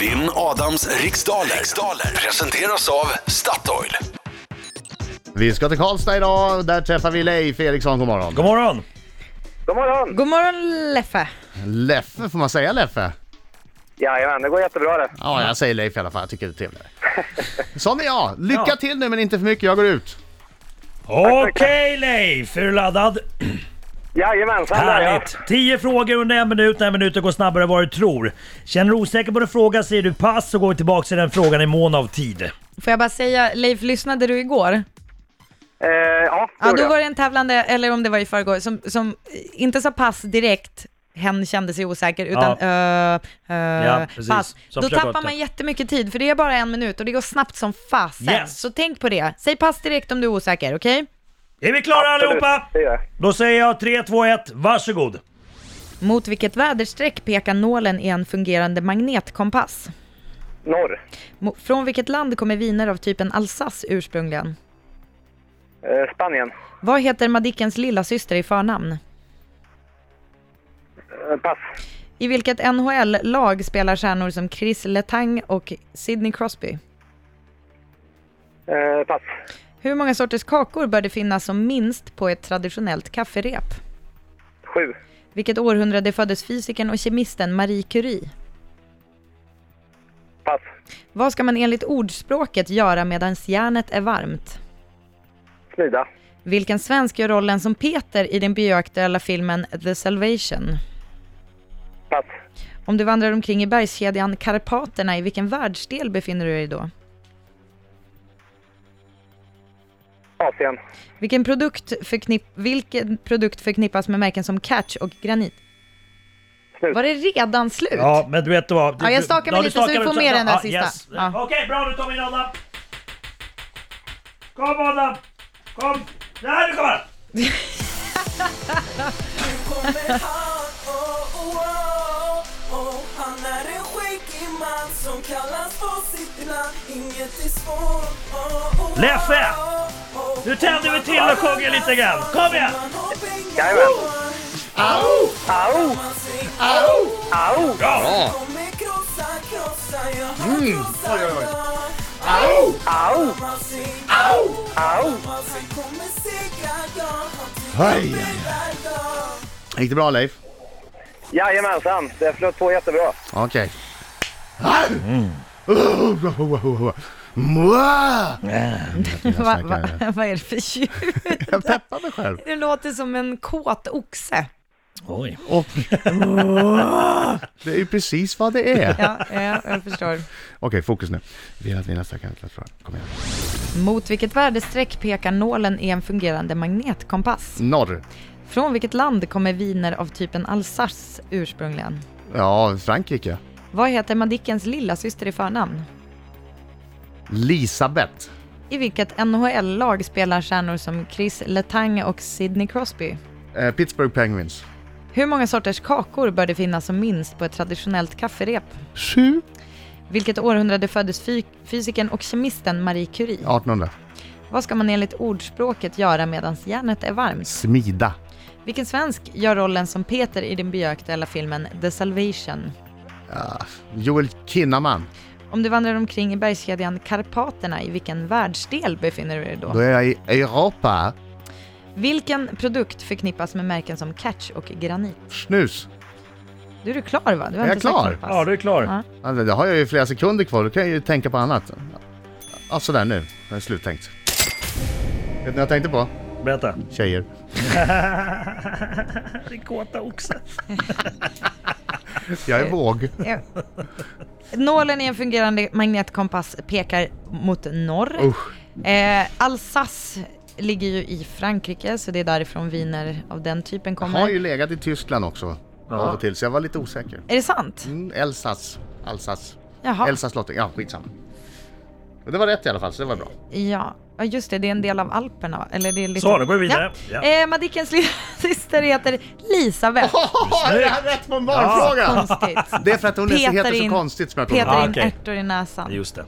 Vinn Adams riksdaler. riksdaler presenteras av Statoil. Vi ska till Karlstad idag, där träffar vi Leif Eriksson, god morgon. God morgon! God morgon! God morgon Leffe! Leffe, får man säga Leffe? Jajamän, det går jättebra det. Ja, jag säger Leif i alla fall, jag tycker det är trevligare. Sån är jag, lycka till nu men inte för mycket, jag går ut. Okej Leif, är du laddad? Jajamensan, där ja. Härligt! 10 frågor under en minut, en minut går snabbare än vad du tror. Känner du osäker på din fråga säger du pass och går vi tillbaka till den frågan i mån av tid. Får jag bara säga, Leif, lyssnade du igår? Eh, ja, det Ja, gjorde då jag. var det en tävlande, eller om det var i förrgår, som, som inte sa pass direkt, hen kände sig osäker, utan ja. Ja, precis. pass. Som då försöker tappar åt det. man jättemycket tid, för det är bara en minut och det går snabbt som fasen. Yes. Så tänk på det. Säg pass direkt om du är osäker, okej? Är vi klara allihopa? Det gör jag. Då säger jag 3, 2, 1, varsågod! Mot vilket väderstreck pekar nålen i en fungerande magnetkompass? Norr. Mo- Från vilket land kommer viner av typen Alsace ursprungligen? Eh, Spanien. Vad heter Madickens lillasyster i förnamn? Eh, pass. I vilket NHL-lag spelar stjärnor som Chris Letang och Sidney Crosby? Eh, pass. Hur många sorters kakor bör det finnas som minst på ett traditionellt kafferep? Sju. Vilket århundrade föddes fysikern och kemisten Marie Curie? Pass. Vad ska man enligt ordspråket göra medan järnet är varmt? Smida. Vilken svensk gör rollen som Peter i den bioaktuella filmen The Salvation? Pass. Om du vandrar omkring i bergskedjan Karpaterna, i vilken världsdel befinner du dig då? Asien. Vilken produkt, förknipp vilken produkt förknippas med märken som Catch och Granit? Slut. Var det redan slut? Ja, men du vet vad? Ja, jag stakar mig Ja, du lite så vi stakar får ut- med den där Ja, sista. Yes. Ja. Okej, bra nu tar vi in Adam! Kom Adam! Kom! Nej, nu kommer han! kommer han, oh, oh, oh, oh. Han är en skäggig man som kallas på sitt namn Inget är svårt, oh, oh, Leffe! oh, oh. Nu tänder vi till och sjunger lite grann. Kom igen! Man har pengar Jajamän. Au! Au! Au! Mm. Bra! Kommer krossa, krossa, jag har krossat alla. Au! Man ser- Au! man ser kommer segra, jag har Aj, tittat på varje dag. Gick det bra Leif? Jajamensan, det flöt på jättebra. Okej. Mm. Mwah! Va, Jag va, snackar- vad är det för ljud? Jag peppar mig själv. Det låter som en kåt oxe. Oj. Och... Det är ju precis vad det är. Ja, ja, jag förstår. Okej, fokus nu. Vila, vila, stacka, stacka, Kom igen. Mot vilket värdestreck pekar nålen i en fungerande magnetkompass? Norr. Från vilket land kommer viner av typen Alsace ursprungligen? Ja, Frankrike. Vad heter Madickens lillasyster i förnamn? Lisabeth. I vilket NHL-lag spelar stjärnor som Chris Letang och Sidney Crosby? Eh, Pittsburgh Penguins. Hur många sorters kakor bör det finnas som minst på ett traditionellt kafferep? Sju. Vilket århundrade föddes fy- fysikern och kemisten Marie Curie? 1800. Vad ska man enligt ordspråket göra medan järnet är varmt? Smida. Vilken svensk gör rollen som Peter i den bioaktuella filmen The Salvation? Ah, Joel Kinnaman. Om du vandrar omkring i bergskedjan Karpaterna, i vilken världsdel befinner du dig Då då? är jag i Europa. Vilken produkt förknippas med märken som Catch och Granit? Snus. Du är du klar va? Du har Är jag inte sagt klar? något pass. Ja, du är klar. Ja. Alltså, det har jag ju flera sekunder kvar, då kan jag ju tänka på annat. Ja, sådär nu. Det är sluttänkt. Vet ni vad jag tänkte på? Berätta. Tjejer. Din kåta oxe. Jag är våg. Ja. Nålen i en fungerande magnetkompass pekar mot norr. Usch. Eh, Alsace ligger ju i Frankrike, så det är därifrån viner av den typen Jag kommer. har ju legat i Tyskland också. Av och till, så jag var lite osäker. Är det sant? Mm, Elsass. Alsass. Jaha. Elsass Lottning. Ja, skitsamma. Men det var rätt i alla fall, så det var bra. Ja. ja, just det, det är en del av Alperna va? Eller det är lite... Så, då går vi vidare. Ja. Ja. Eh, Madickens lilla syster heter Lisabeth. Oh, jag hade rätt på en barnfråga! Konstigt. Det är för att hon inte Petar heter så in- konstigt som jag trodde. Petar Ah, in okej. ärtor i näsan. Just det.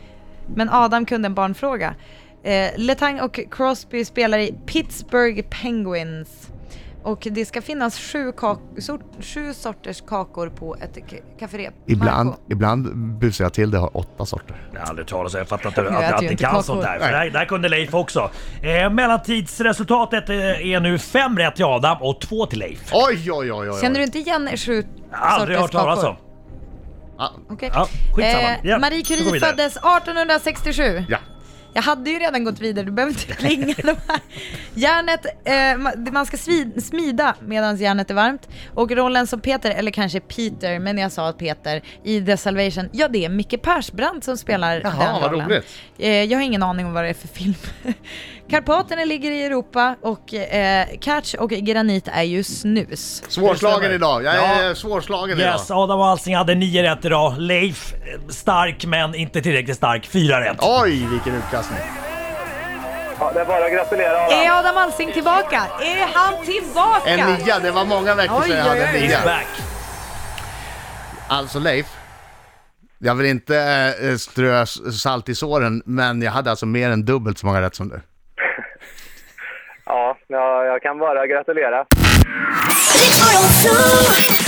Men Adam kunde en barnfråga. Eh, Letang och Crosby spelar i Pittsburgh Penguins. Och det ska finnas sju, kak- sort, sju sorters kakor på ett k- kafferep. Ibland, Marco. ibland busar jag till det och har åtta sorter. Jag har aldrig talat så jag fattar inte att, äter att, att ju ni inte kan kakor. sånt där. För där, där kunde Leif också. Eh, mellantidsresultatet eh, är nu fem rätt till Adam och två till Leif. Oj, oj, oj, oj. Känner du inte igen sju Aldrig hört sorters talas kakor? om. Ah, Okej. Eh, Ja, skitsamma. Ja, Marie vi går Curie vidare. föddes 1867. ja. Jag hade ju redan gått vidare, du behöver inte klinga de här. Järnet, eh, ma- man ska svi- smida medan järnet är varmt. Och rollen som Peter, eller kanske Peter, men jag sa att Peter, i The Salvation, ja det är Micke Persbrandt som spelar Jaha, den vad rollen. roligt. Eh, jag har ingen aning om vad det är för film. Karpaterna ligger i Europa och eh, Catch och Granit är ju snus. Svårslagen idag. Jag är Ja. svårslagen Yes, idag. Adam och Alsing hade nio rätt idag. Leif, eh, stark men inte tillräckligt stark, fyra rätt. Oj, vilken utkastning. Ja, det är bara att gratulera Adam. Är Adam Alsing tillbaka? Är han tillbaka? En nia, det var många veckor Oj, sedan jag oj, hade en oj. He's nia. back. Alltså Leif, jag vill inte eh, strö s- salt i såren, men jag hade alltså mer än dubbelt så många rätt som du. Ja, ja, jag kan bara gratulera. Riks 2